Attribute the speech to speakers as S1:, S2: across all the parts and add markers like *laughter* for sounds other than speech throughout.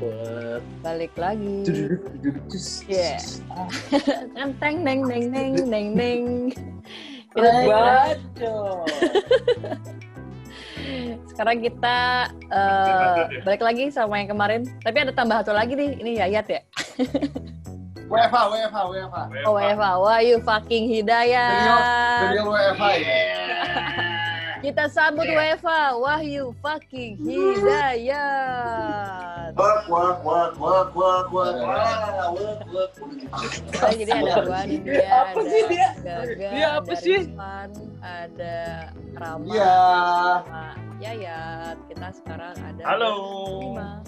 S1: Buat
S2: balik lagi *laughs*
S1: duduk duduk cus.
S2: Yeah.
S1: cus.
S2: teng teng neng neng neng neng neng
S1: *laughs*
S2: kita
S1: Like
S2: buat
S1: that, dong.
S2: sekarang kita eh, balik lagi sama yang kemarin tapi ada tambah satu lagi nih ini Yayat ya
S3: WFH, WFH, WFH.
S2: oh Eva wah you fucking
S3: The
S2: Hidayat
S3: real WFH. ya.
S2: kita sambut Weva Wahyu fucking Hidayat
S4: Work, work, work, work, work, work,
S3: Wah,
S4: work, work,
S2: Oh, jadi ada gua nih dia
S1: Apa
S2: ada
S1: sih dia?
S2: Gaga,
S1: Dia apa
S2: ada
S1: sih?
S2: Rizwan, ada Rama
S3: Iya.
S2: sama Yayat kita sekarang ada
S4: Halo.
S2: berlima.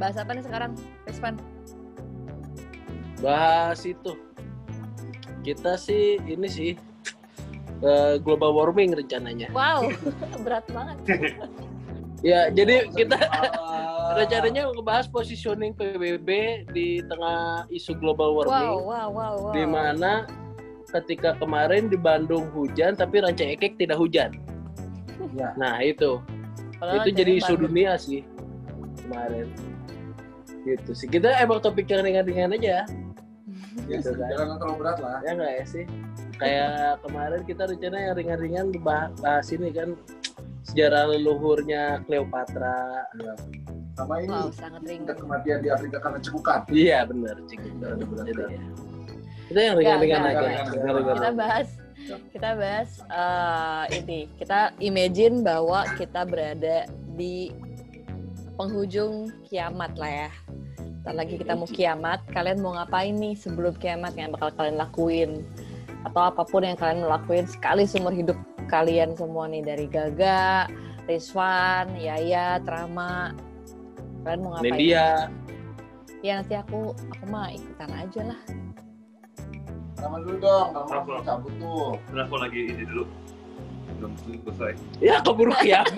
S2: bahas apa nih sekarang Rizwan
S1: Bahas itu. Kita sih ini sih eh, global warming rencananya.
S2: wow *laughs* berat banget
S1: Ya, jadi kita
S3: Ah.
S1: rencananya ngebahas positioning PBB di tengah isu global
S2: wow
S1: warming.
S2: wow wow wow
S1: Di mana ketika kemarin di Bandung hujan tapi Ranca Ekek tidak hujan.
S3: Ya.
S1: Nah, itu.
S2: Padahal
S1: itu jadi
S2: Oh, Bandung.
S1: isu dunia sih kemarin gitu sih kita emang topik yang ringan-ringan aja
S2: *laughs*
S3: Ya,
S1: gitu kan
S3: Jangan terlalu berat lah.
S1: ya nggak ya sih kayak kemarin kita rencana yang ringan-ringan bah- bahas ini kan sejarah leluhurnya Cleopatra
S3: Ya. Sama ini,
S2: wow sangat
S3: tingkat
S2: ringan
S3: kematian di Afrika karena cekukan.
S1: iya benar cik Jadi ya. kita yang ringan-ringan
S2: Nggak,
S1: aja
S3: nggak, nggak.
S1: Ringan-ringan.
S2: kita bahas kita bahas eh, ini kita imagine bahwa kita berada di penghujung kiamat lah ya Ntar lagi kita mau kiamat kalian mau ngapain nih sebelum kiamat yang bakal kalian lakuin atau apapun yang kalian lakuin sekali seumur hidup kalian semua nih dari Gaga, Rizwan, Yaya, Trama kalian mau ngapain?
S1: Media
S2: Ya nanti aku aku mah ikutan aja lah.
S3: Sama dulu dong, kalau
S4: Apa?
S3: mau cabut tuh.
S4: Kenapa lagi ini dulu? Belum selesai.
S1: ya keburu kiamat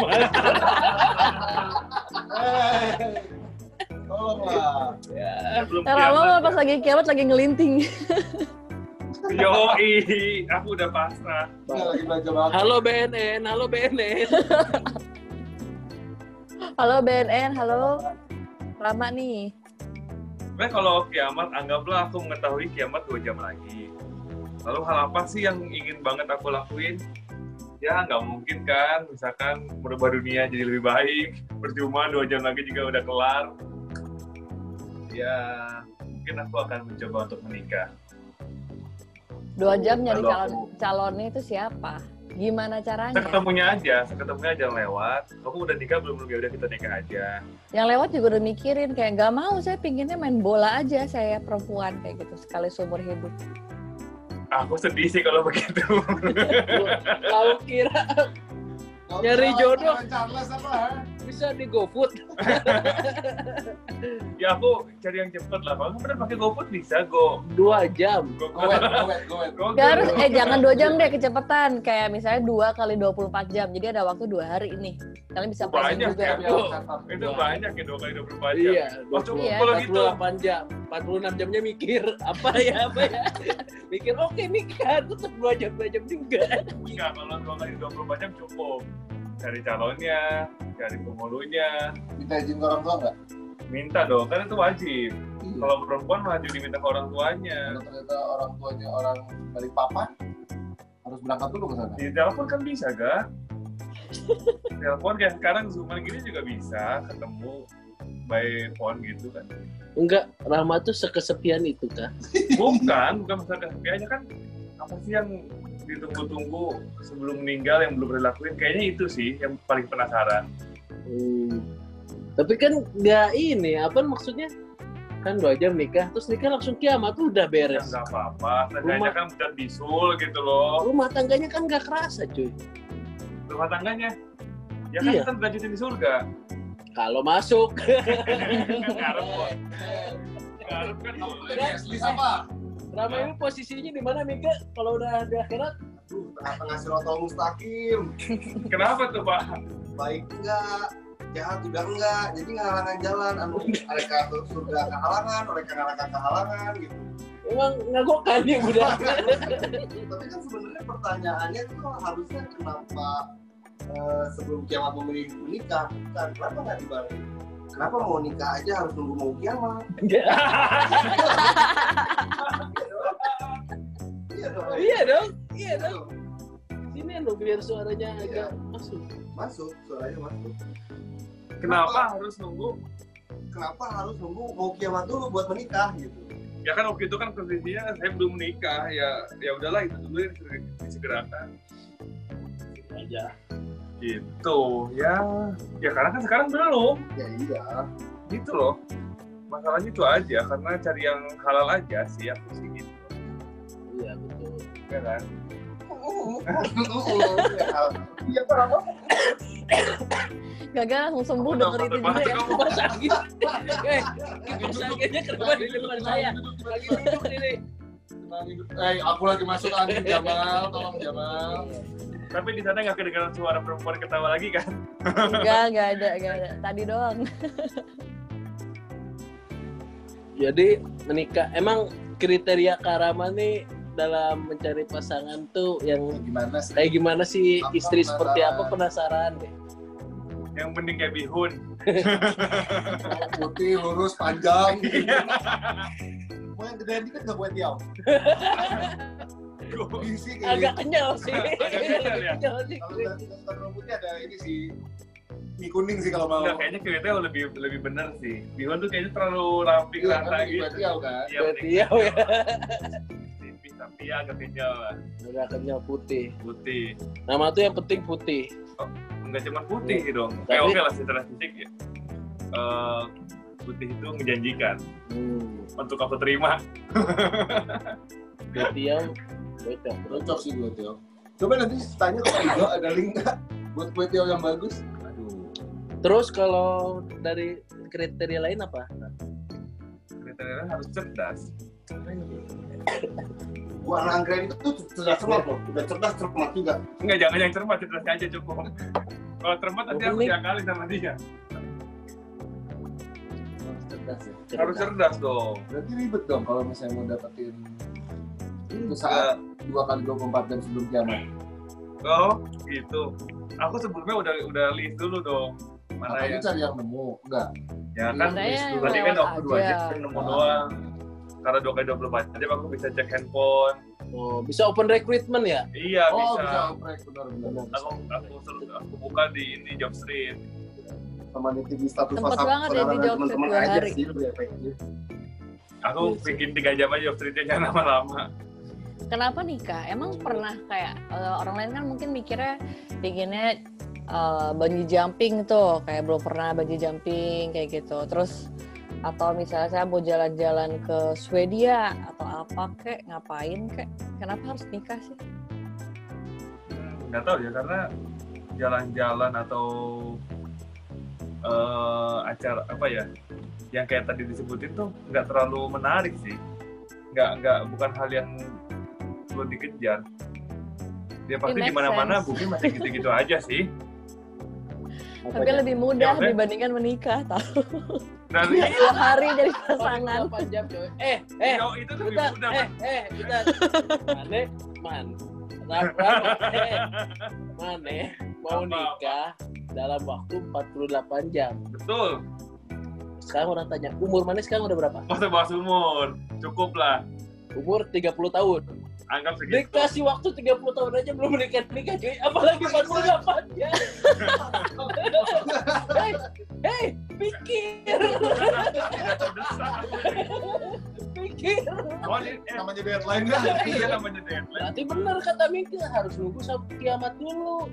S3: Hei, Tolonglah.
S1: ya.
S4: Belum
S2: Trama mah
S4: kiamat,
S2: pas lagi kiamat lagi ngelinting.
S4: ya. Yoi, aku udah pasrah.
S3: Ini lagi belanja banget.
S1: halo BNN halo BNN
S2: Halo BNN, halo. Lama nih.
S4: Sebenarnya kalau kiamat, anggaplah aku mengetahui kiamat dua jam lagi. Lalu hal apa sih yang ingin banget aku lakuin? Ya nggak mungkin kan, misalkan merubah dunia jadi lebih baik, percuma dua jam lagi juga udah kelar. Ya mungkin aku akan mencoba untuk menikah.
S2: Dua jam nyari
S4: Halo.
S2: calon calonnya itu siapa? Gimana caranya?
S4: Seketemunya aja, seketemunya aja lewat. Kamu udah nikah belum? Ya udah kita nikah aja.
S2: Yang lewat juga udah mikirin kayak nggak mau saya pinginnya main bola aja saya perempuan kayak gitu sekali seumur hidup.
S4: Aku sedih sih kalau *laughs* begitu.
S1: Kalau kira
S3: Kalau
S1: Nyari
S3: misalnya
S1: jodoh.
S3: orang Charles apa? ha?
S1: bisa di GoFood
S4: ya aku cari yang cepet lah. Kamu pernah pakai GoFood bisa, Go.
S1: dua jam
S4: Go. Go.
S3: Gowet, gowet,
S4: *laughs*
S3: gowet.
S4: Go.
S2: Gak harus eh jangan dua jam deh kecepatan kayak misalnya dua kali 24 jam jadi ada waktu dua hari ini kalian bisa planning
S4: Banyak
S2: juga.
S4: ya.
S3: Tapi aku catat.
S4: itu
S1: Wah.
S4: banyak ya dua kali dua puluh jam.
S1: Iya,
S4: Waktu
S2: Iya.
S4: kalau gitu,
S1: 48 jam, 46 jamnya mikir apa ya apa ya. Mikir oke nikah tetap 2 jam 2 jam juga.
S4: enggak iya, kalau dua kali dua puluh jam cukup. Cari calonnya, cari pemulunya,
S3: Minta izin ke orang tua nggak?
S4: minta dong, kan itu wajib.
S3: Iya.
S4: Kalau perempuan maju diminta ke orang tuanya.
S3: Kalau ternyata orang tuanya orang dari papan, harus berangkat dulu ke sana.
S4: Di telepon kan bisa, ga?
S2: *laughs*
S4: telepon kayak sekarang zooman gini juga bisa ketemu by phone gitu kan.
S1: Enggak, Rahma tuh sekesepian itu kah?
S4: Bukan, bukan masalah kesepiannya kan apa sih yang ditunggu-tunggu sebelum meninggal yang belum dilakuin kayaknya itu sih yang paling penasaran
S1: Hmm. Tapi kan nggak ini, apa maksudnya? Kan 2 jam nikah, terus nikah langsung kiamat udah
S4: ya
S1: beres.
S4: nggak apa-apa tangganya
S1: Iya, Rumah-
S4: kan bukan bisul gitu loh
S1: Rumah tangganya kan nggak kerasa cuy.
S4: rumah tangganya ya kan
S1: Iya.
S4: kita berlanjutin di
S1: *laughs*
S4: surga
S1: Kalau masuk, *laughs*
S4: kan ngarep kok ngarep kan boleh
S3: Next list apa?
S1: Rahma ini posisinya di mana Mika? Kalau udah di akhirat,
S3: Duh, tengah-tengah sirotol mustaqim.
S4: kenapa tuh pak
S3: Baik enggak, jahat udah enggak. Jadi ngalangan jalan. Anu, mereka surga kehalangan, mereka neraka kehalangan gitu.
S1: emang ngagokan ya udah.
S3: Tapi kan sebenarnya pertanyaannya tuh harusnya kenapa eh, sebelum kiamat memilih menikah? Bukan, kenapa nggak dibalik? kenapa mau nikah aja harus nunggu mau kiamat iya dong
S1: iya dong, iya
S3: iya
S1: dong.
S3: dong
S1: Sini lo biar suaranya agak masuk.
S3: Gitu masuk suaranya masuk
S4: Kenapa harus nunggu?
S3: kenapa harus nunggu mau kiamat dulu buat menikah gitu
S4: Ya kan waktu itu kan kondisinya saya belum menikah ya ya udahlah itu dulu yang diseg- disegerakan
S1: Sini aja.
S4: gitu ya ya karena kan sekarang belum
S3: ya iya
S4: gitu loh masalahnya itu aja karena cari yang halal aja sih aku sih gitu
S1: Iya betul.
S4: ya kan
S1: Uh-uh.
S5: Uh-uh. Ya.
S3: iya kenapa
S2: Gagal langsung sembuh
S4: Udah,
S2: dengerin
S4: udah
S2: ini
S4: banget
S2: ya.
S4: kamu.
S1: Rumah sakit. Eh, rumah
S5: Iya,
S1: sakitnya kenapa di depan saya? Lagi duduk ini.
S5: Eh, aku lagi masuk angin Jamal, tolong Jamal.
S2: Iya.
S4: tapi di sana nggak kedengaran suara perempuan ketawa lagi kan
S2: Enggak, enggak ada, enggak ada. Tadi doang.
S1: Jadi menikah emang kriteria karama nih dalam mencari pasangan tuh yang
S5: Oh, Gimana sih?
S1: kayak Eh, gimana sih
S5: Apa
S1: istri seperti
S5: penasaran?
S1: apa penasaran deh.
S4: *laughs* yang penting kayak bihun
S5: Putih, lurus,
S1: *laughs*
S5: panjang.
S1: Iya.
S5: Mau yang gedean dikit nggak buat diau. Gisi
S3: Iya.
S5: kayak gitu.
S1: Agak kenyal sih.
S4: kenyal ya?
S1: Kenyal sih.
S5: Kalau udah kalau udah putih ada ini sih mie kuning sih kalau mau.
S4: nggak kayaknya kelihatannya lebih lebih bener sih bihun tuh kayaknya terlalu rapi
S5: Iya,
S4: rata
S5: kan,
S4: gitu
S5: buat diau, kan?
S4: Iya,
S1: Berarti
S4: mending
S1: ya, ya.
S4: tipis tapi ya agak kenyal lah.
S1: Udah kenyal putih.
S4: putih
S1: Nama tuh yang penting putih.
S4: nggak cuma putih dong
S1: Iya. Tapi-
S4: kayak oke lah secara fisik ya Eh, putih itu menjanjikan
S1: Hmm.
S4: untuk aku terima
S1: Berarti ya bocok.
S5: Cocok sih buat diau. Coba nanti tanya ke Ido ada link nggak buat kue tiaw yang bagus?
S4: aduh
S1: Terus kalau dari kriteria lain apa?
S4: kriteria harus cerdas
S3: buah anggrek itu tuh cerdas cermat loh udah cerdas cermat juga
S4: Enggak, jangan yang cermat, cerdasnya aja cukup. Kalau cermat nanti aku
S1: Boleh.
S4: diakali sama dia.
S5: Harus cerdas ya.
S4: Harus Oh, cerdas dong.
S5: Berarti ribet dong kalau misalnya mau dapetin itu
S4: Hmm, Enggak.
S5: saat dua kali 24 jam sebelum kiamat.
S4: Oh, gitu. Aku sebelumnya udah udah list dulu dong. Mana
S5: Apa
S4: ya?
S5: lu cari yang nemu? Enggak.
S4: Ya kan,
S5: Iya.
S2: Saya yang
S4: tadi kan
S2: lewat
S4: aku dua aja
S2: aja.
S4: kan nemu doang. Karena dua kali dua puluh empat jam aku bisa cek handphone.
S1: Oh, bisa open recruitment ya?
S4: Iya
S5: Oh,
S4: bisa.
S5: bisa oprek benar-benar.
S4: Aku aku suruh aku buka di ini job street.
S5: Sama nitip di status
S2: Sempet banget ya di jawab
S5: teman-teman
S2: setiap
S5: aja
S2: hari.
S5: sih lebih efektif. Iya
S4: Aku bikin tiga jam aja job streetnya jangan lama-lama.
S2: Kenapa nikah? Emang
S4: Hmm.
S2: pernah kayak eh, orang lain kan mungkin mikirnya pinginnya eh, bungee jumping tuh, kayak belum pernah bungee jumping kayak gitu. Terus atau misalnya saya mau jalan-jalan ke Swedia atau apa kek, ngapain kek? Kenapa harus nikah sih?
S4: nggak tahu ya karena jalan-jalan atau eh, acara apa ya yang kayak tadi disebutin tuh nggak terlalu menarik sih nggak nggak bukan hal yang perlu dikejar dia pasti
S2: makes
S4: di mana-mana
S2: sense.
S4: bumi masih gitu-gitu aja sih
S2: Tapi lebih mudah
S4: Jawabannya? Iya.
S2: dibandingkan menikah,
S4: *laughs*
S2: tahu?
S4: dan
S2: Dua hari jadi pasangan.
S1: Panjang, coy. Eh, eh.
S4: jauh itu lebih
S1: Udah,
S4: mudah
S1: eh, eh, udah. Mane, man. Kenapa, *laughs* Mane? Mane mau
S4: Apa-apa.
S1: nikah dalam waktu 48 jam.
S4: betul
S1: Sekarang orang tanya, umur Mane sekarang udah berapa?
S4: masa bahas umur cukup lah
S1: Umur 30 tahun.
S4: anggap
S1: Gitu.
S4: segitu
S1: Dikasih waktu 30 tahun aja belum menikah nikah cuy. Apalagi 48 jam. Hei, hei, pikir,
S4: Tidak terdesak aku.
S1: pikir.
S4: oh ini- eh,
S5: Namanya deadline dah.
S4: iya namanya deadline
S1: Berarti bener kata Mika harus nunggu sampai kiamat dulu.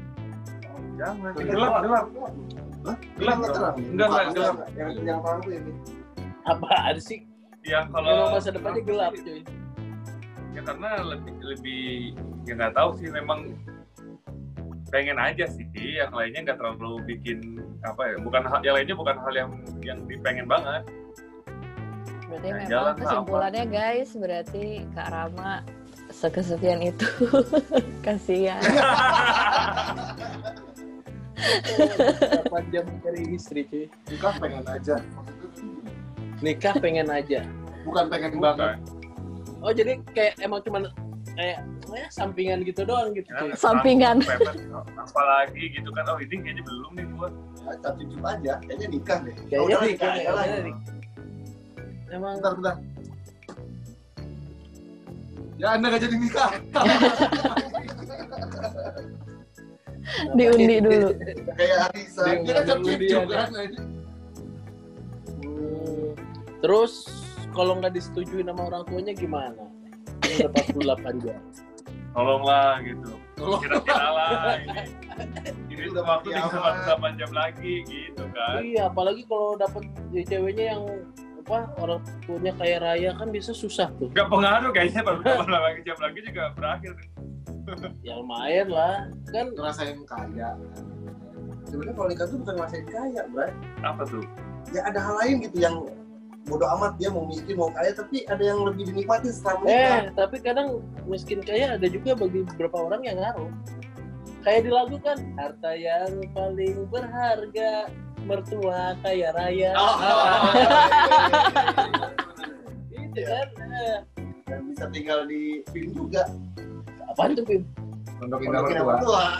S4: jangan gelap gelap gelap
S5: Nggak terang.
S4: enggak enggak gelap
S3: yang yang terang tuh ini
S1: Apaan sih?
S4: ya
S1: Memang
S4: kalau
S1: masa depannya gelap cuy.
S4: ya karena lebih lebih ya nggak tahu sih memang pengen aja sih yang lainnya nggak terlalu bikin apa ya bukan hal yang lainnya bukan hal yang yang dipengen banget
S2: Berarti
S4: Ya,
S2: memang
S4: jalan lah,
S2: kesimpulannya guys, berarti Kak Rama sekesetian itu. *laughs* Kasihan.
S1: 8 jam cari istri cuy.
S5: Bukan pengen kan aja. Maksudnya tuh gini,
S1: Nikah pengen aja.
S5: Bukan pengen
S4: Bukan.
S5: banget.
S1: Oh jadi kayak emang cuman kayak eh, sampingan gitu doang gitu cuy.
S5: Ya.
S2: Sampingan.
S4: Mepet, apalagi oh, gitu kan oh ini kayaknya belum nih gua
S5: Ya, satu jam aja, kayaknya nikah deh.
S1: Kayaknya
S5: Oh, udah
S1: nikah, ya,
S5: nikah,
S1: kayaknya
S5: lah.
S1: nikah. Emang
S5: Bentar, bentar. Ya anda gak jadi nikah. Iya.
S2: diundi dulu.
S5: Kayak Arisa.
S1: Dia
S5: Dia kan
S1: nggak
S5: jam
S1: dulu
S5: tujuh
S1: dia,
S5: kan.
S1: Hmm. Terus kalau nggak disetujui sama orang tuanya gimana? Ini udah 48 jam.
S4: tolonglah gitu
S5: Tolong.
S4: kira-kira lah ini ini
S5: Itu
S4: udah
S5: udah
S4: waktu
S5: kiamat.
S4: tinggal delapan jam lagi gitu kan
S1: Iya, apalagi kalau dapet ya, ceweknya yang apa orang tuanya kaya raya kan bisa susah tuh.
S4: nggak pengaruh kayaknya baru delapan jam lagi juga berakhir
S1: Ya lumayan lah. Kan
S5: Ngerasain kaya.
S3: sebenarnya kalau nikah tuh bukan ngerasain kaya bray
S4: apa tuh
S3: ya ada hal lain gitu yang bodoh amat dia mau miskin mau kaya tapi ada yang lebih dinikmati setelah *laughs* menikah
S1: eh tapi kadang miskin kaya ada juga bagi beberapa orang yang ngaruh. Kayak di lagu kan harta yang paling berharga mertua kaya raya.
S3: Oh,
S1: Itu kan. eh,
S3: dan bisa tinggal di film juga
S1: Apaan tuh Pim?
S5: Untuk indah
S3: Pondok
S5: mertua.
S3: mertua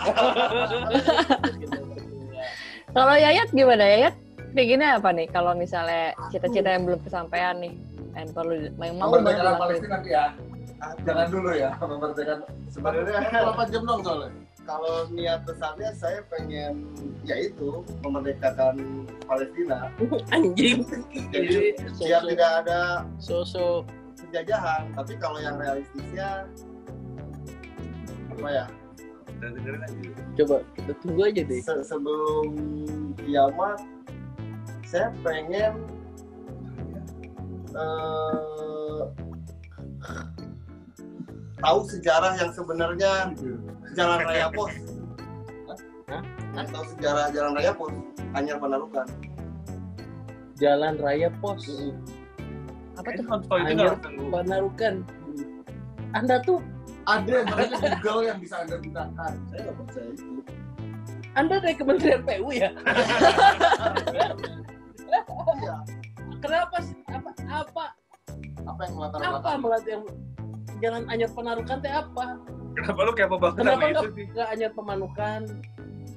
S2: Kalau Yayat gimana Yayat? Pinginnya apa nih? Kalau misalnya cita-cita yang belum kesampaian nih, yang perlu yang mau banget
S5: Memberdekaan
S2: dilakuin.
S5: Palestina nanti ya. Ah, Jangan dulu ya, memberdekaan.
S3: sebenarnya
S5: 8 jam dong soalnya.
S3: kalau niat besarnya saya pengen yaitu memerdekakan Palestina
S1: *laughs* Anjing.
S3: jadi biar
S1: Sosok,
S3: tidak ada
S1: sosok
S3: penjajahan tapi kalau yang realistisnya apa ya
S4: dan dengerin aja
S1: coba kita tunggu aja deh.
S3: se- sebelum kiamat saya pengen eh, tahu sejarah yang sebenarnya jalan raya pos
S1: Hah?
S3: Hah? tahu sejarah jalan raya pos hanya penarukan
S1: Jalan Raya Pos.
S2: Apa tuh?
S4: kayaknya nonton Kan itu nggak harus tunggu
S1: Panarukan. Anda tuh,
S5: Ada makanya Google yang bisa anda gunakan.
S3: saya nggak percaya itu
S1: Anda dari Kementerian PU ya?
S5: Oh.
S3: iya
S1: Kenapa sih? Apa apa
S5: Apa yang melatar
S1: apa
S5: belakang?
S1: melat yang jalan anyar penarukan teh apa?
S4: kenapa lu kayak mau banget
S1: Kenapa
S4: sama itu
S1: nggak-
S4: sih
S1: nggak anyar pemanukan?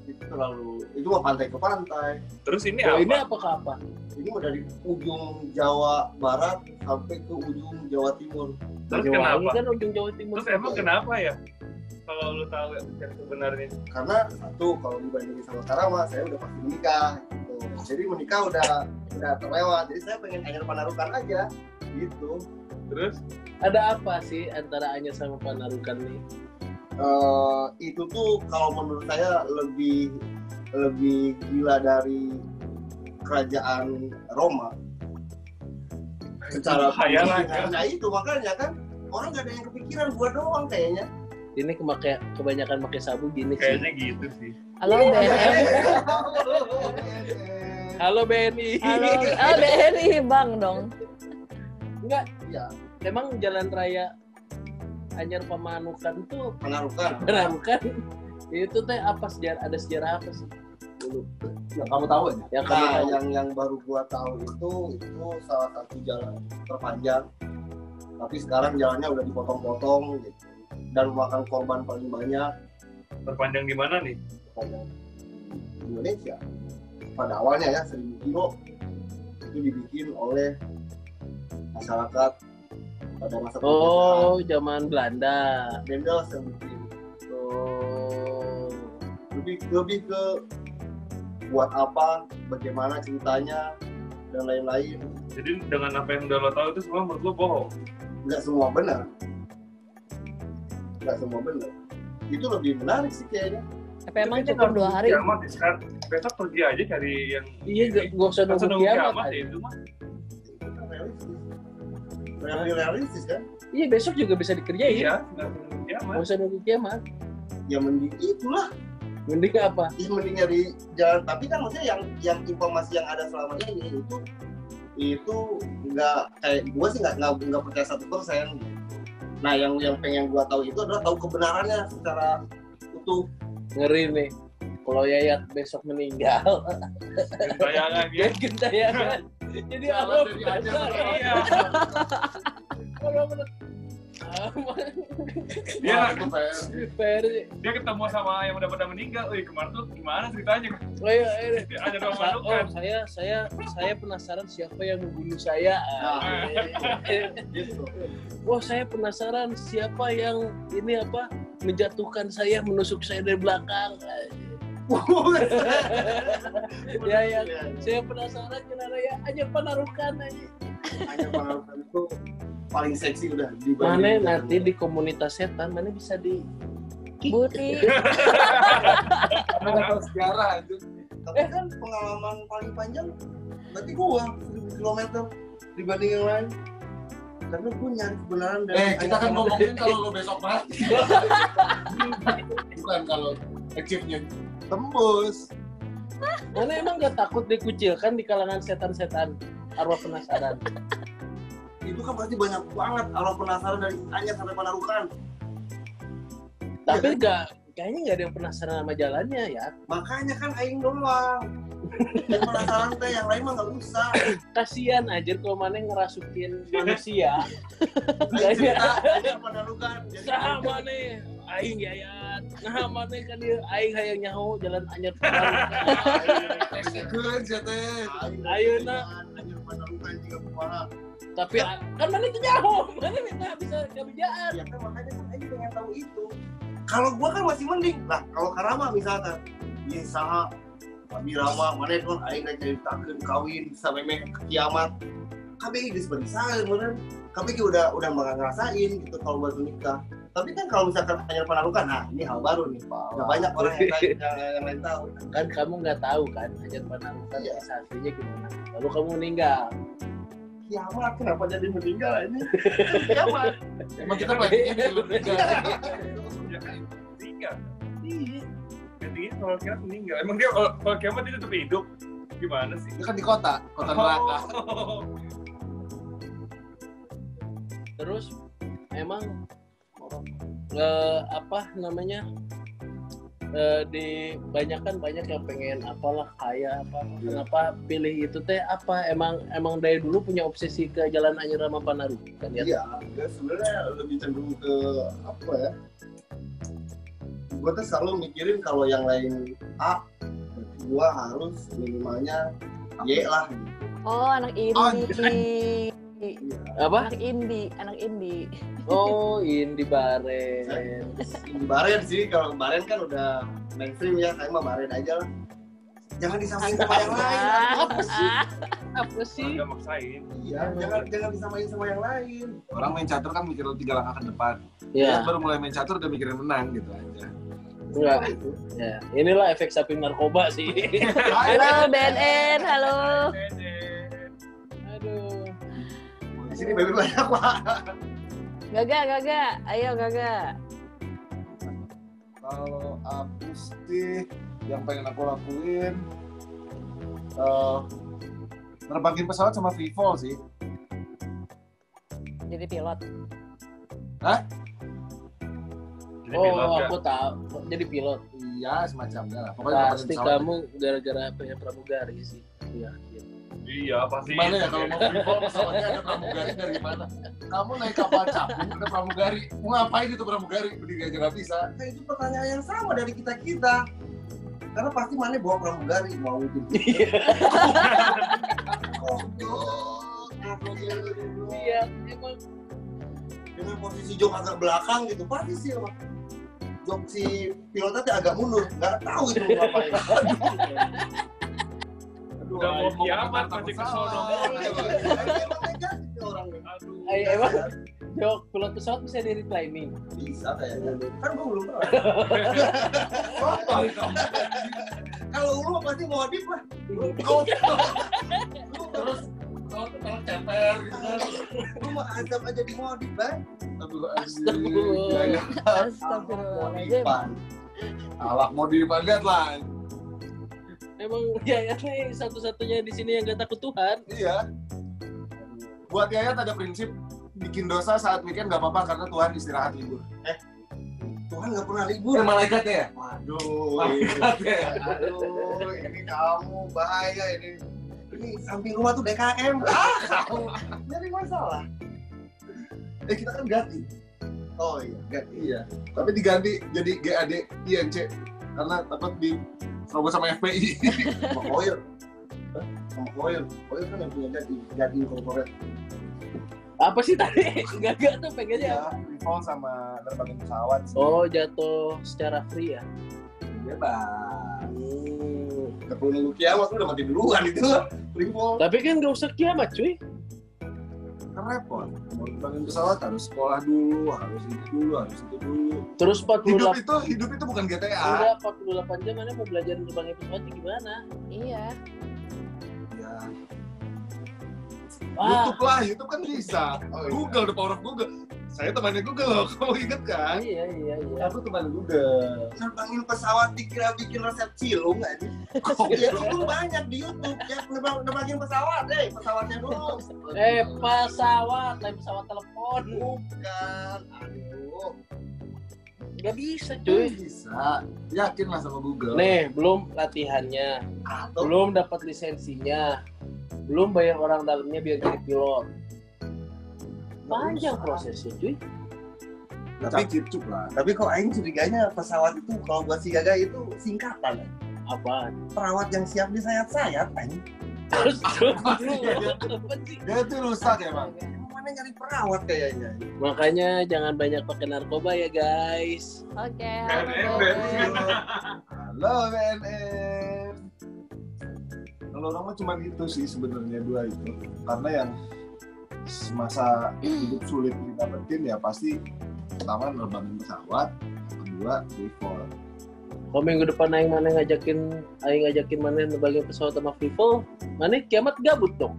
S3: itu terlalu itu mah pantai ke pantai
S4: terus ini
S1: Oh, ini
S4: Ya, apa
S1: apa ke apa?
S3: ini mah dari ujung Jawa Barat sampai ke ujung Jawa Timur
S4: terus
S1: Banyuwangi
S4: kenapa
S1: kan ujung Jawa Timur.
S4: terus emang kenapa ya kalau lu tahu yang sebenarnya
S3: karena satu kalau dibandingin sama Karama saya udah pasti menikah gitu. jadi menikah udah udah terlewat jadi saya pengen ajar panarukan aja gitu
S4: terus
S1: Iya Ada apa sih antara anyar sama penarukan nih?
S3: Eh, itu tuh kalau menurut saya lebih lebih gila dari kerajaan Roma secara
S4: Khayalan,
S3: pendidikan. nah itu makanya kan orang gak ada yang kepikiran gua doang kayaknya
S1: Ini kemake kebanyakan pakai sabu gini sih.
S4: kayaknya gitu sih
S2: Halo BNM.
S1: Halo Benny.
S2: Halo oh, BNI Bang dong.
S1: Enggak,
S3: iya
S1: *laughs* emang jalan raya anyar pemanukan tuh
S3: penarukan
S1: Nah, bukan. Itu teh apa sejarah ada sejarah apa sih? Dulu
S5: Yang kamu tahu aja. Ah.
S1: yang kamu
S3: Nah,
S1: tahu.
S3: yang yang baru gua tahu itu itu salah satu jalan terpanjang. Tapi sekarang jalannya udah dipotong-potong gitu. Dan makan korban paling banyak
S4: terpanjang di mana nih
S3: pada di Indonesia. Pada awalnya ya 1000 kilo itu dibikin oleh masyarakat pada masa penjajahan.
S1: Oh, zaman Belanda.
S3: Dendels yang bikin
S1: Oh.
S3: lebih lebih ke buat apa, bagaimana ceritanya dan lain-lain.
S4: jadi dengan apa yang udah lo tahu itu semua menurut lu bohong
S3: nggak semua benar nggak semua benar itu lebih menarik sih kayaknya
S2: Apa emang
S4: Tapi
S2: cukup
S1: kan
S4: jangan
S2: dua hari?
S4: kiamat ya, sekarang besok pergi aja cari yang
S1: Iya, gak, gak usah
S4: Masa
S1: nunggu
S4: nunggu
S1: kiamat.
S4: kiamat
S1: kan.
S4: ya itu mah
S3: itu kan realistis Real- realistis kan
S1: Iya, besok juga bisa dikerjain.
S4: iya nggak nunggu kiamat
S1: Gak usah nunggu kiamat.
S3: ya mending itulah
S1: Mending apa?
S3: ya, mending nyari jalan tapi kan maksudnya yang yang informasi yang ada selama ini itu itu nggak kayak gue sih nggak nggak nggak percaya satu persen nah yang yang pengen gue tahu itu adalah tahu kebenarannya secara utuh
S1: Ngeri nih. Kalau Yayat besok meninggal,
S4: bayangan
S1: dia
S4: ya
S1: gentayangan. kan? Jadi
S4: Iya.
S5: Jalan
S1: apa?
S5: dari anyar
S1: Kalau menurut Sama.
S5: Wah,
S4: Dia
S5: itu PR.
S1: PR.
S4: dia ketemu sama yang udah pada meninggal. Wih, kemarin tuh gimana ceritanya?
S1: Oh iya, iya.
S4: Dia Ada nama
S1: Sa-
S4: lu
S1: oh,
S4: kan?
S1: saya saya saya penasaran siapa yang membunuh saya. Ah,
S5: Nah,
S1: Eh,
S5: gitu.
S1: Wah, oh, saya penasaran siapa yang ini apa menjatuhkan saya, menusuk saya dari belakang. *laughs* ya ya. Saya penasaran kenapa ya aja penarukan aja.
S5: Hanya pengalaman itu paling seksi udah dibanding.
S1: Mana nanti di komunitas setan mana bisa di
S2: Buti.
S5: Karena nggak tahu sejarah itu.
S3: Tapi kan pengalaman paling panjang berarti gua 1000 kilometer dibanding yang lain. Karena gua nyari kebenaran dari
S5: Eh, kita kan
S3: ayat-
S5: ngomongin kalau lo besok mati. Bukan kalau achieve-nya tembus.
S1: Mana emang gak takut dikucilkan di kalangan setan-setan? Arwah penasaran.
S3: itu kan pasti banyak banget arwah penasaran dari Anyar sampai Panarukan.
S1: Tapi gak, kayaknya gak ada yang penasaran sama jalannya ya.
S3: Makanya kan aing doang. Yang penasaran teh yang lain mah nggak usah.
S1: Kasian aja kalau mana ngerasukin manusia. Iya,
S3: Aing cerita Anyar Panarukan. Jadi
S1: Saha mana? Nah, Aing yayat. Nah mana kan dia aing hayang nyaho jalan anyar Panarukan.
S5: Keren sih teh.
S1: Ayeuna.
S3: Anyar Panarukan juga kepala.
S1: Tapi a- kan mana itu nyaho? Mana minta bisa kerjaan?
S3: Ya kan makanya kan aing pengen tahu itu. Kalau gua kan masih mending. Lah kalau Karama misalkan, ya saha Abi Rama, mana itu kan aing jadi takut kawin sampai meh kiamat. KBI geus bagi saya, bener. KBI udah udah nggak ngerasain gitu kalau baru nikah. Tapi kan kalau misalkan Anyar Panarukan, nah ini hal baru nih. Gak banyak orang yang, lain- yang, yang lain tahu.
S1: Kan kamu nggak tahu kan anyar Panarukan
S3: Iya.
S1: kisah aslinya gimana. Lalu kamu meninggal.
S3: Kiamat, kenapa jadi meninggal ini? Kiamat. Iya.
S5: Emang kita
S3: *laughs*
S5: pelatihan di luar negara.
S4: Ya kan, meninggal.
S1: Iya.
S4: Gantinya kalau kiamat meninggal. Emang dia kalau kalau kiamat dia tetap hidup? Gimana sih?
S5: Itu kan di kota, kota neraka.
S4: Oh.
S1: terus emang eh, apa namanya eh, di banyak kan banyak yang pengen apalah kaya apa kenapa pilih itu teh apa emang emang dari dulu punya obsesi ke jalan Anyer sama Panarukan ya
S5: Iya, gue sebenarnya lebih cenderung ke apa ya?
S3: gue tuh selalu mikirin kalau yang lain A, berarti gue harus minimalnya Y lah.
S2: Oh, anak indie.
S1: apa
S2: Anak indie, anak indie.
S1: oh Indi Baren
S3: Di Baren sih, kalau Baren kan udah mainstream ya, saya mah Baren aja lah. Jangan disamain sama yang *laughs* lain.
S1: apa sih?
S2: Ah,
S1: apa sih
S4: Nggak maksain.
S3: Iya, jangan jangan disamain sama yang lain.
S5: Orang main catur kan mikir tiga langkah ke depan.
S1: ya
S5: Baru mulai main catur udah mikirin menang gitu aja.
S1: enggak ya inilah efek samping narkoba sih
S2: Halo BNN, halo.
S1: aduh
S3: Di sini baru banyak lah.
S2: Gaga, Gaga, ayo Gaga.
S5: Kalau aku sih yang pengen aku lakuin eh terbangin pesawat sama free fall sih.
S2: Jadi pilot.
S4: Jadi pilot
S1: oh
S4: nggak?
S1: aku tahu jadi pilot
S5: Iya semacamnya lah. Pokoknya terbangin
S1: Pasti
S5: pesawat.
S1: kamu gara-gara punya pramugari sih. Iya.
S4: Iya, pasti.
S5: Gimana ya kalau mau free fall pesawatnya ada pramugari dari mana? Kamu naik kapal capung ada pramugari. Mau ngapain itu pramugari? Berdiri aja nggak bisa.
S3: Nah, itu pertanyaan yang sama dari kita kita. Karena pasti mana bawa pramugari mau gitu. *laughs*
S1: Iya, emang
S3: dengan posisi jok agak belakang gitu pasti sih emang jok si pilotnya tuh agak mundur nggak tahu gitu mau
S1: *laughs*
S3: ngapain
S5: Aduh,
S4: Udah mau
S5: ayo,
S4: kiamat,
S5: kata
S4: masih
S5: pesawat.
S4: kesono.
S3: Emang nekat gitu orangnya.
S5: *laughs*
S4: Aduh.
S1: eh, emang jok pilot pesawat bisa di reclining.
S3: bisa kayaknya kan gua belum tahu
S5: Kotor itu.
S3: kalau lu mah pasti mau adip lah
S5: Kotor. Terus kalau kalau ceper gitu kan.
S3: lu mah azab aja di eh. mau adip lah
S5: Aduh,
S1: Astagfirullah.
S5: anjing. Ya,
S2: Astagfirullahaladzim.
S5: ya. Awak mau dipanjat lah.
S1: Emang Yayat nih satu-satunya di sini yang gak takut Tuhan.
S5: Iya. Buat Yayat ada prinsip bikin dosa saat weekend nggak apa-apa karena Tuhan istirahat libur.
S3: Tuhan nggak pernah libur
S5: Bukan malaikat ya?
S3: waduh
S5: Malaikat ya.
S3: aduh ini kamu bahaya ini ini samping rumah tuh DKM ah kamu jadi masalah
S5: *laughs* Eh kita kan ganti.
S3: oh iya
S5: G- iya tapi diganti jadi GAD INC karena takut di serobot sama FPI
S3: sama Koyol Hah? sama Koyol Koyol kan yang punya jadi jadi corporate
S1: Apa sih tadi? Enggak enggak tuh pengennya.
S5: ya rival sama nerbangin pesawat sih
S1: Oh, jatuh secara free ya.
S5: bebas
S1: Hmm.
S3: udah perlu nunggu kiamat udah mati duluan itu Freefall
S1: Tapi kan gak usah kiamat cuy.
S5: kan repot mau nerbangin pesawat harus sekolah dulu harus ini dulu harus itu dulu
S1: Terus
S5: hidup
S1: 48
S5: kan? itu hidup itu bukan GTA
S1: Udah 48 jam mana mau belajar terbang pesawat gimana?
S2: Iya.
S5: ya.
S1: Wah,
S5: YouTube lah YouTube kan bisa
S3: oh, iya.
S5: Ah. Google the power of Google saya temannya Google loh *laughs* kamu inget kan
S1: iya iya iya.
S5: aku teman Google
S3: nerbangin Kan pesawat dikira bikin resep cilung aja
S5: *laughs*
S3: ya cilung banyak di YouTube ya nerbang, nerbangin pesawat eh pesawatnya dulu
S1: Eh, pesawat, lain pesawat telepon.
S3: bukan aduh
S1: Gak bisa cuy.
S5: bisa yakinlah sama Google
S1: Nih, belum latihannya.
S3: atau
S1: belum dapat lisensinya, belum bayar orang dalamnya biar jadi pilot. Panjang prosesnya cuy.
S5: tapi cipcuk lah
S3: tapi kok Aing curiganya pesawat itu kalau buat si Gaga itu singkatan
S1: Apa?
S3: perawat yang siap disayat-sayat Aing
S1: *laughs* Terus terus
S5: Iya, iya.
S1: apa sih?
S5: *laughs* dia itu rusak ya, *laughs* emang
S3: mana nyari perawat kayaknya
S1: Makanya jangan banyak pakai narkoba ya guys.
S2: Oke.
S4: Dan
S2: halo,
S4: ember.
S2: Boy.
S5: halo BNN kalau orang mah cuma itu sih sebenarnya dua itu karena yang semasa hidup sulit didapetin ya pasti pertama nerbangin pesawat kedua default
S1: Kalau minggu depan aing mana ngajakin aing ngajakin mana nerbangin pesawat sama Vivo, mana kiamat gabut dong.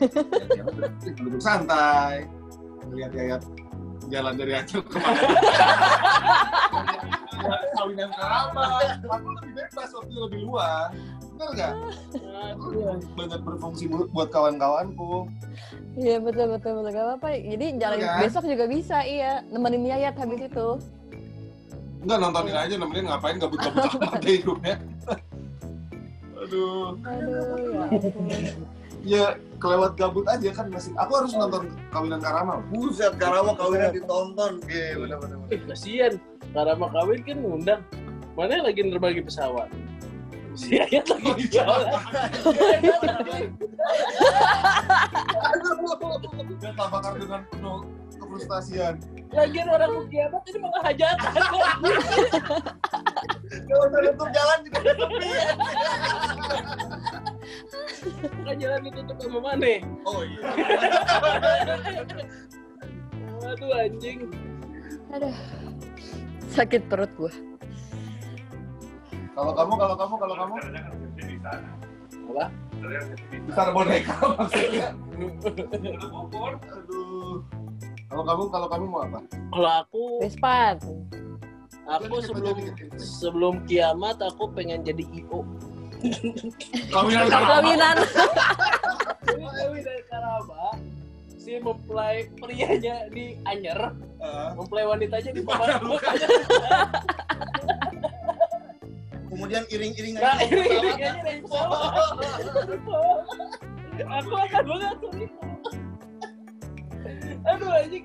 S5: ya, dia mah duduk- duduk santai lihat lihat jalan dari Aceh ke mana kawinan apa aku lebih bebas waktu lebih luas bener nggak
S1: Aduh.
S5: banyak berfungsi bu- buat kawan-kawanku
S2: Iya betul betul betul gak apa-apa. Jadi jalan
S5: Iya.
S2: besok juga bisa iya nemenin Yayat habis itu.
S5: enggak nontonin aja nemenin ngapain gabut-gabut amat deh hidupnya *laughs* aduh
S2: Aduh ya. ampun.
S5: ya kelewat gabut aja kan masih aku harus nonton kawinan Karama loh.
S3: buset Karawa kawinan ditonton Iya, Oke, bener-bener
S1: Eh, kasihan. Karena mau kawin kan ngundang. Mana lagi nerbangin pesawat? Iya, Si *laughs* Ayat lagi jalan.
S5: dan bakar dengan penuh kefrustasian
S1: Lagian orang mau kiamat ini malah hajatan.
S3: kalau menutup jalan juga sepi ya
S1: kan jalan ditutup sama mana ya?
S3: oh iya
S1: aduh anjing *laughs*
S2: Aduh. Sakit perut gua.
S5: kalau kamu kalau kamu kalau kamu
S4: Caranya kan kerja di sana.
S1: Apa?
S4: Caranya kerja di sana.
S5: besar boneka maksudnya
S4: Lu Bogor,
S5: Aduh. Kalau kamu kalau kamu mau apa?
S1: kalau aku
S2: Vespan.
S1: aku
S5: ya,
S1: sebelum sebelum kiamat aku pengen jadi io
S5: Kawinan
S2: Kawinan.
S1: Ewi dari Karaba si mempelai prianya di Anyer mempelai wanitanya di Pamanukan
S3: kemudian iring-iringan
S1: nah ini ini aja dari pesawat aku akan banget tuh Iko. aduh anjing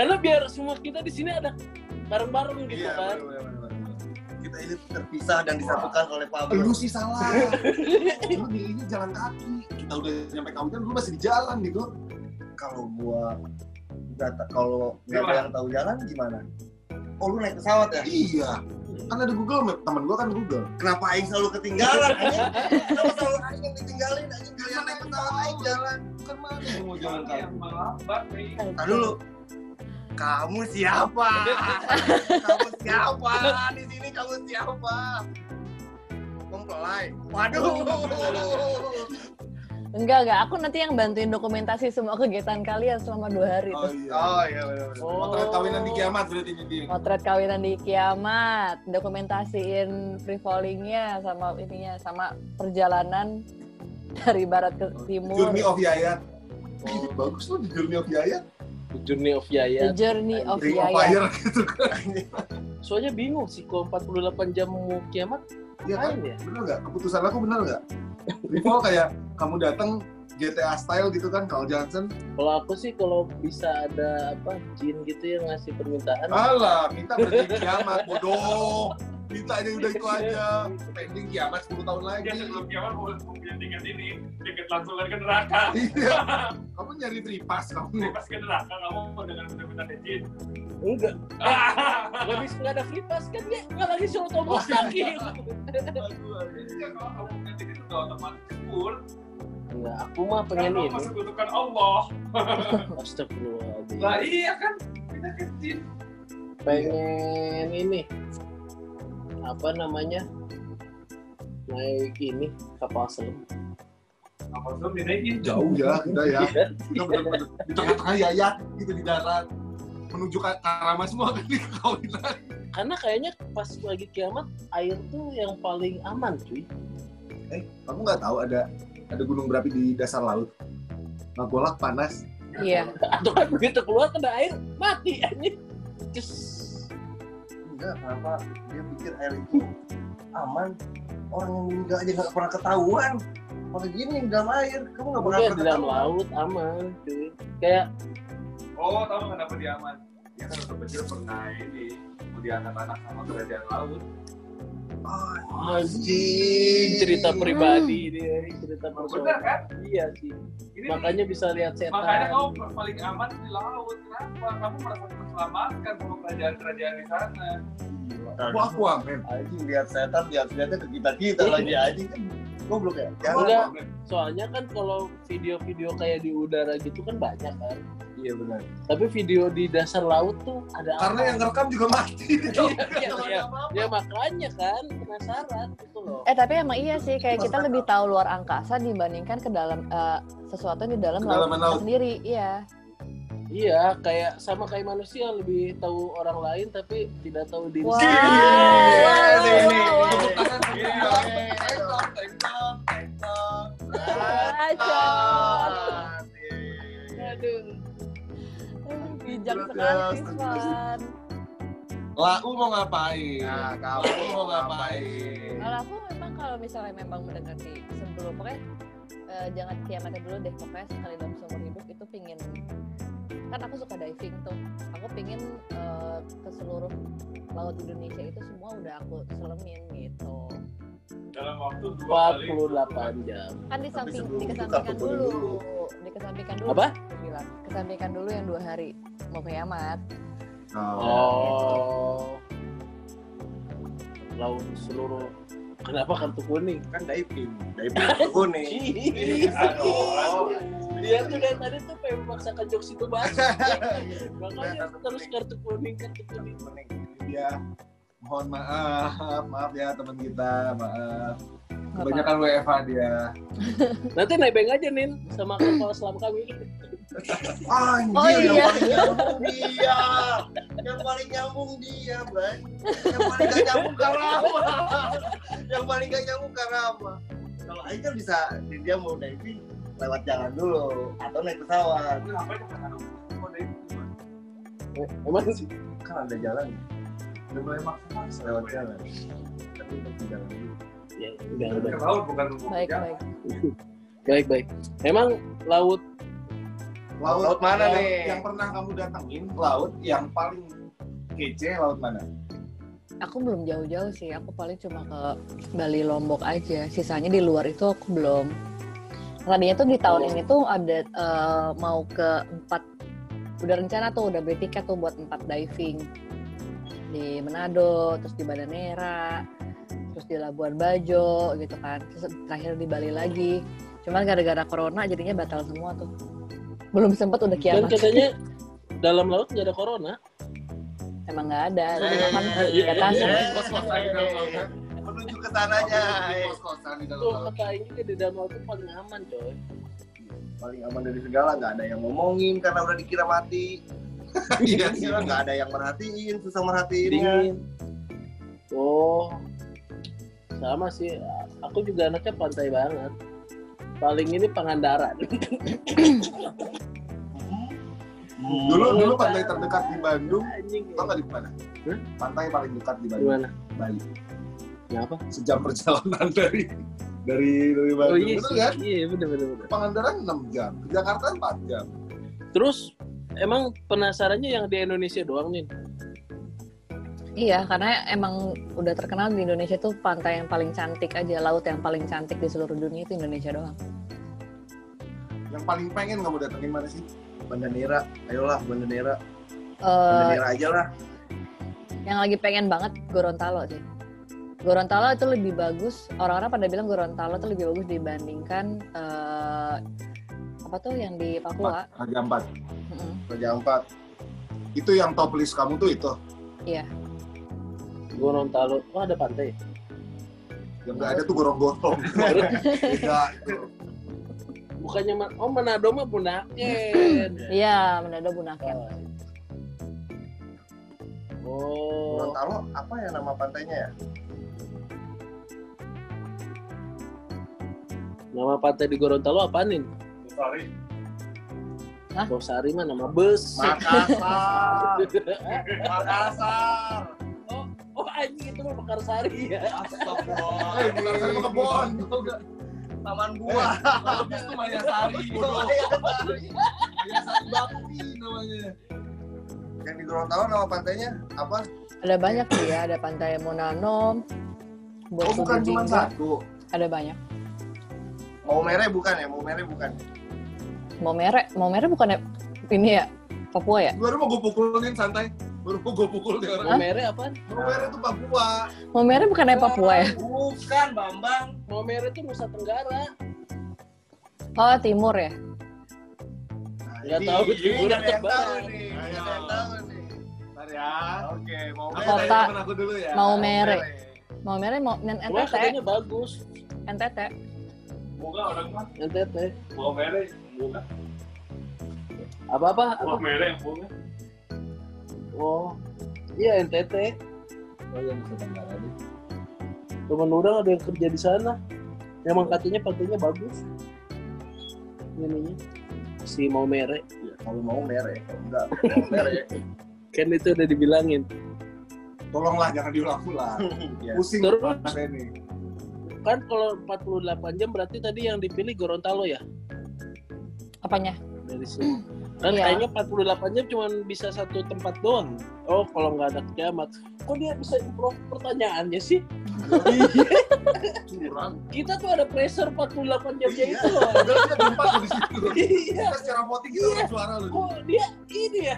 S1: karena biar semua kita di sini ada bareng-bareng gitu
S5: Iya.
S1: kan
S3: kita ini terpisah dan disatukan oleh
S5: Lu
S3: Pablo
S5: sih salah. Lu milihnya jalan kaki. Kita udah nyampe kawinan lu masih di jalan gitu.
S3: kalau gua nggak ta- kalau nggak ada yang tahu jalan gimana oh lu naik pesawat ya
S5: Iya. Kan ada Google Map. Temen gua kan Google.
S3: kenapa Aing selalu ketinggalan anjing? kenapa selalu Aing yang ditinggalin Aing kalian naik pesawat Aing jalan
S5: Kan mana yang mau jalan
S4: Jalan
S5: kaki?
S4: yang melambat nih.
S3: Tar Nah, dulu kamu siapa kamu siapa di sini kamu siapa mempelai waduh
S2: Enggak enggak, aku nanti yang bantuin dokumentasi semua kegiatan kalian selama dua hari.
S5: Oh
S2: Terus
S5: iya.
S3: oh iya benar-benar
S1: Oh.
S5: Potret kawinan di kiamat berarti ini. Din.
S2: motret kawinan di kiamat, dokumentasiin free fallingnya sama ininya sama perjalanan dari barat ke timur.
S5: Journey of Yayat. Oh, bagus lu di Journey of Yayat.
S1: Journey of
S2: The
S1: Yaya
S2: journey of
S5: Ring of
S2: Yayat.
S5: Fire *laughs* gitu kan.
S1: soalnya bingung sih kalau 48 jam mau kiamat
S5: Iya kan?
S1: ngapain ya
S5: bener nggak keputusan aku bener nggak Rival kayak kamu datang GTA style gitu kan kalau Johnson
S1: Kalau aku sih kalau bisa ada apa jin gitu yang ngasih permintaan.
S5: Ah. Alah, minta berhenti kiamat, bodoh. Minta aja udah itu aja. Pending kiamat 10 tahun lagi.
S4: Dia *laughs* sebelum kiamat mau punya tiket ini, tiket langsung lari ke neraka.
S5: Iya. Kamu nyari tripas kamu.
S4: Pas ke neraka kamu mau dengan benar-benar jin.
S1: Enggak, habis nggak ada free pass kan dia nggak lagi suruh tombol sakit.
S4: Iya, kalau kamu punya tiket itu otomatis kebur.
S1: Enggak, Iya, aku mah pengen
S4: Karena
S1: ini.
S4: persekutukan Allah. Lah
S1: Astagfirullahaladzim.
S4: iya kan, kita kan jin.
S1: Pengen ini. Apa namanya? Naik ini kapal selam.
S4: Apa tuh dinaikin?
S5: Jauh ya kita ya.
S1: Iya.
S5: Kita bener-bener di tengah-tengah yayak gitu di darat. Menuju ke Karama semua kan nih, kalau kita.
S1: Karena kayaknya pas lagi kiamat air tuh yang paling aman cuy.
S5: Eh, kamu nggak tahu ada ada gunung berapi di dasar laut. Nagolak panas.
S2: Iya.
S1: Atau kan begitu keluar kena air mati anjing. Cus.
S3: enggak kenapa dia pikir air itu aman orang yang meninggal aja nggak pernah ketahuan malah gini di dalam air kamu nggak pernah
S1: Udah di dalam
S3: ketahuan
S1: laut aman cuy. Kayak
S4: Oh, tahu kenapa dia aman? Dia kan waktu kecil pernah ini mau diangkat anak sama kerajaan laut.
S1: anjing cerita
S5: Hmm.
S1: pribadi dia cerita
S4: Emang Bener
S1: personal.
S4: kan?
S1: Iya sih.
S4: Ini
S1: Makanya kan bisa lihat setan.
S4: makanya kamu paling aman di laut. Kenapa? Kamu merasa terselamatkan sama kerajaan-kerajaan di sana.
S5: Wah, wah, men.
S3: anjing lihat setan lihat lihatnya ke kita kita lagi
S1: Iya.
S3: anjing kan goblok ya
S1: Udah.
S3: Jangan,
S1: Soalnya kan kalau video-video kayak di udara gitu kan banyak kan.
S5: Iya benar.
S1: Tapi video di dasar laut tuh ada
S5: Karena
S1: apa?
S5: yang ngerekam juga mati.
S1: Iya, iya. ya makanya kan penasaran gitu loh.
S2: Eh tapi emang iya sih kayak kita lebih tahu luar angkasa dibandingkan ke dalam eh, sesuatu yang di dalam laut,
S5: Kedalaman
S2: kita
S5: laut.
S2: sendiri. Iya.
S1: Iya, kayak sama kayak manusia lebih tahu orang lain tapi tidak tahu diri.
S2: Wow.
S1: sendiri.
S2: Wow,
S5: Ini, ini.
S2: wow, wow.
S1: iya,
S5: Tepuk tangan.
S2: Acot. Aduh. Bijak
S5: Terus,
S2: sekali
S5: terus,
S2: Iswan.
S5: Lau mau ngapain? Nah, kamu mau ngapain?
S2: Kalau aku memang kalau misalnya memang mendekati sebelum pokoknya eh, jangan kiamatnya dulu deh pokoknya sekali dalam seumur hidup itu pingin kan aku suka diving tuh aku pingin eh, ke seluruh laut Indonesia itu semua udah aku selemin gitu
S4: Dalam waktu dua kali.
S1: 48 jam.
S2: kan disamping
S3: sebelum itu
S2: dikesampingkan
S3: kartu kuning
S2: dulu.
S3: dulu.
S2: dikesampingkan dulu
S1: Apa?
S2: aku bilang kesampingkan dulu yang dua hari mau kiamat
S1: Oh. Laut seluruh. Kenapa kartu kuning?
S3: kan diving diving aku nih
S1: Iya.
S4: Aduh,
S1: Dia tuh dari tadi tuh pengen memaksakan jokes itu banget. Makanya terus kartu kuning, kartu kuning.
S5: Ya, mohon maaf, maaf ya teman kita, maaf.
S2: Nggak
S5: Kebanyakan WFH dia.
S1: Nanti nebeng aja Nin sama kapal selam kami.
S5: Anjir,
S2: Oh,
S5: yang
S2: iya.
S5: paling nyambung.
S3: dia yang paling nyambung dia bang yang paling gak nyambung karama yang paling gak nyambung karama kalau Aing kan bisa dia mau diving lewat jalan dulu atau naik pesawat
S4: Ini ngapain kita ngadu? Kok ada itu?
S1: Eh, Emang sih?
S5: Kan ada jalan. Udah mulai maksa lewat jalan. Tapi tetap jalan dulu.
S1: Ya, udah, udah.
S4: Ke laut bukan bukan
S2: baik
S4: jalan.
S2: baik
S1: Baik, baik. Emang laut
S5: Laut,
S3: Laut mana
S5: yang-
S3: nih?
S5: Yang pernah kamu datengin, laut yang paling kece laut mana?
S2: aku belum jauh-jauh sih aku paling cuma ke Bali Lombok aja sisanya di luar itu aku belum tadinya tuh di tahun ini tuh ada eh, mau ke empat udah rencana tuh udah beli tiket tuh buat empat diving di Manado terus di Bandanera terus di Labuan Bajo gitu kan terus terakhir di Bali lagi cuman gara-gara corona jadinya batal semua tuh belum sempet udah
S1: dan
S2: kiamat
S1: katanya dalam laut nggak ada corona.
S2: emang nggak ada
S3: Eh,
S2: kan
S1: *laughs* iya,
S2: atas
S1: iya.
S5: Kos-kosan di dalam laut kan?
S3: menuju ke sananya
S5: Iya.
S3: eh.
S5: Kos-kosan di dalam
S1: Tuh
S5: laut.
S1: kata ini di dalam laut tuh paling aman coy.
S3: paling aman dari segala nggak ada yang ngomongin karena udah dikira
S1: *laughs*
S3: mati
S5: Iya, iya.
S3: Dikira nggak ada yang merhatiin susah merhatiin ya.
S1: Dingin. Oh, sama sih. Aku juga anaknya pantai banget. Paling ini Pangandaran. *laughs*
S5: Dulu dulu pantai terdekat di Bandung,
S1: Anjing.
S5: tau nggak di mana?
S1: Hmm?
S5: Pantai paling dekat di Bandung,
S1: Gimana?
S5: Bali.
S1: Kenapa?
S5: Sejam perjalanan *laughs* dari dari dari Bandung
S1: Oh iya
S5: bener
S1: sih.
S5: kan
S1: Iya bener bener bener.
S5: Pangandaran 6 jam ke Jakarta 4 jam
S1: Terus emang penasarannya yang di Indonesia doang nih.
S2: Iya, karena emang udah terkenal di Indonesia tuh pantai yang paling cantik aja, laut yang paling cantik di seluruh dunia itu Indonesia doang. Eh,
S5: yang paling pengen kamu datengin mana sih
S3: Bandanera, ayolah Bandanera,
S2: Eh,
S3: Bandanera aja lah.
S2: yang lagi pengen banget Gorontalo sih. Gorontalo itu lebih bagus. Orang-orang pada bilang Gorontalo itu lebih bagus dibandingkan eh, apa tuh yang di Papua.
S5: Raja Ampat
S2: Mm-mm.
S5: Raja Ampat itu yang top list kamu tuh itu
S1: Gorontalo. Wah ada pantai.
S5: yang nggak ada tuh
S3: *laughs*
S5: gorong-gorong
S1: Terus,
S5: beda itu
S1: Bukannya Man- oh Manado mah Bunaken.
S2: Iya, Manado Bunaken.
S1: Oh,
S5: Gorontalo apa ya nama pantainya ya
S1: nama pantai di Gorontalo apa nih?
S4: Sorry.
S1: Tosari mah nama bus.
S3: Makassar, Makassar.
S1: oh, *laughs* oh anjing itu mah Pekarsari ya.
S3: Astagfirullah.
S5: eh bukan kan kebon
S3: Taman buah.
S5: habis tuh Maya Sari bodoh Maya Sari Bakti namanya yang di Gorontalo nama pantainya apa
S2: Ada banyak sih ya, ada pantai Monano,
S5: oh bukan
S2: Botolujingga,
S5: cuma satu
S2: Ada banyak.
S3: Mau mere bukan ya? Mau mere bukan.
S2: Momere, Momere bukan ini ya Papua ya?
S5: baru mau gue pukulin santai baru mau gue pukul dia orang
S1: Momere apaan?
S5: Romero itu Papua
S2: Momere bukan Papua ya?
S3: Bukan Bambang.
S1: Momere itu Nusa Tenggara.
S2: Oh timur ya?
S1: Nggak tahu
S5: Ini-
S1: juga.
S5: ini nggak ada yang tahu
S1: Barat.
S5: nih
S3: Nggak
S5: nggak
S3: ada yang tahu nih.
S5: Bentar ya oke mau
S2: Apa,
S5: mere
S2: Pak?
S5: temen aku dulu ya
S2: Mau mere. Momere mau dan
S1: Cuma
S2: NTT,
S1: katanya bagus.
S2: NTT.
S4: Moga orang mah
S1: NTT.
S4: buah merah, moga
S1: Apa-apa?
S4: buah merah yang bunga.
S1: Oh, iya NTT.
S5: oh yang bisa tenggara deh
S1: Teman orang ada yang kerja di sana. Emang katanya pantainya bagus. Ininya si mau merek
S5: Ya, kalau mau mere kalau enggak
S3: Mere.
S1: kan itu udah dibilangin
S5: tolonglah jangan diulang-ulang
S3: Ya.
S5: pusing
S1: Terus?
S5: Mas Benny.
S1: kan kalau 48 jam berarti tadi yang dipilih Gorontalo ya
S2: Apanya?
S1: dari sini kan
S2: Iya.
S1: kayaknya 48 jam cuma bisa satu tempat doang oh kalau nggak ada kiamat kok dia bisa improv pertanyaannya sih Iya,
S5: curang
S1: kita tuh ada pressure 48 jamnya
S5: Iya.
S1: itu loh
S5: udah kita jumpa tuh di situ
S1: *laughs* iya
S5: kita secara voting kita
S1: Iya.
S5: dapat suara lu
S1: kok dia ini ya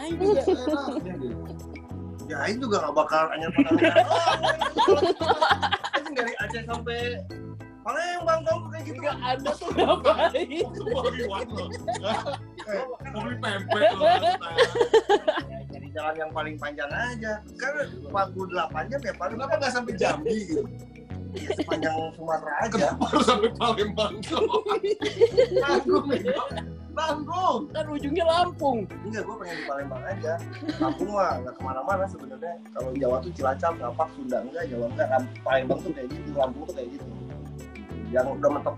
S1: Ayo,
S5: Iya, enaknya deh.
S3: Ya Aing juga nggak bakal *laughs* hanya Aing Kan dari Aceh sampai Palembang kamu kayak gitu.
S1: nggak ada tuh ngapain
S5: Itu bagian lo. Eh, Publik pempek lo.
S3: Ya, Jadi jalan yang paling panjang aja. Kan Karena 48 jam ya paling
S5: Kenapa nggak sampai Jambi gitu?
S3: ya, sepanjang Sumatera aja.
S5: Kenapa harus sampai Palembang tuh? Nanggung nih. Nanggung.
S1: kan ujungnya Lampung
S3: Enggak, gue pengen di Palembang aja. Lampung mah nggak kemana-mana sebenarnya. Kalau Jawa tuh Cilacap, Ngapak, Sunda enggak, Jawa enggak. Lam- Palembang tuh kayak gitu, Lampung tuh kayak gitu. Yang udah mentok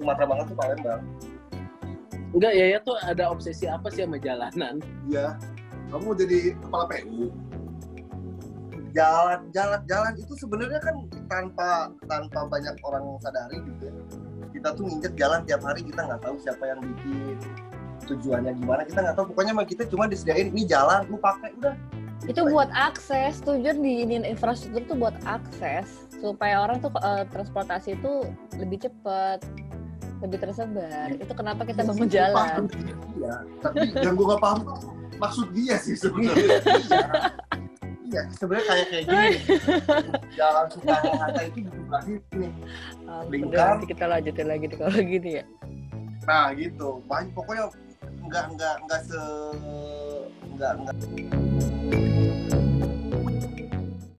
S3: Sumatera banget tuh Palembang.
S1: enggak ya ya tuh ada obsesi apa sih sama jalanan
S5: Iya. Kamu mau jadi kepala PU.
S3: Jalan, jalan, jalan itu sebenarnya kan tanpa tanpa banyak orang yang sadari gitu ya. Kita tuh nginjek jalan tiap hari kita nggak tahu siapa yang bikin tujuannya gimana kita nggak tahu pokoknya mah kita cuma disediain ini jalan lu pakai udah
S2: itu buat akses tujuan di ini infrastruktur tuh buat akses supaya orang tuh eh, transportasi itu lebih cepat lebih tersebar itu kenapa kita bangun jalan
S5: Iya. Tapi yang gue nggak paham tuh maksud dia sih sebenarnya.
S3: Iya, sebenarnya kayak kayak gini. Jalan Soekarno Hatta itu di sebelah sini.
S2: Ah,
S3: Lingkar.
S2: udah, nanti kita lanjutin lagi deh kalau *laughs* gini ya
S3: Nah, gitu. Banyak pokoknya nggak nggak nggak se nggak nggak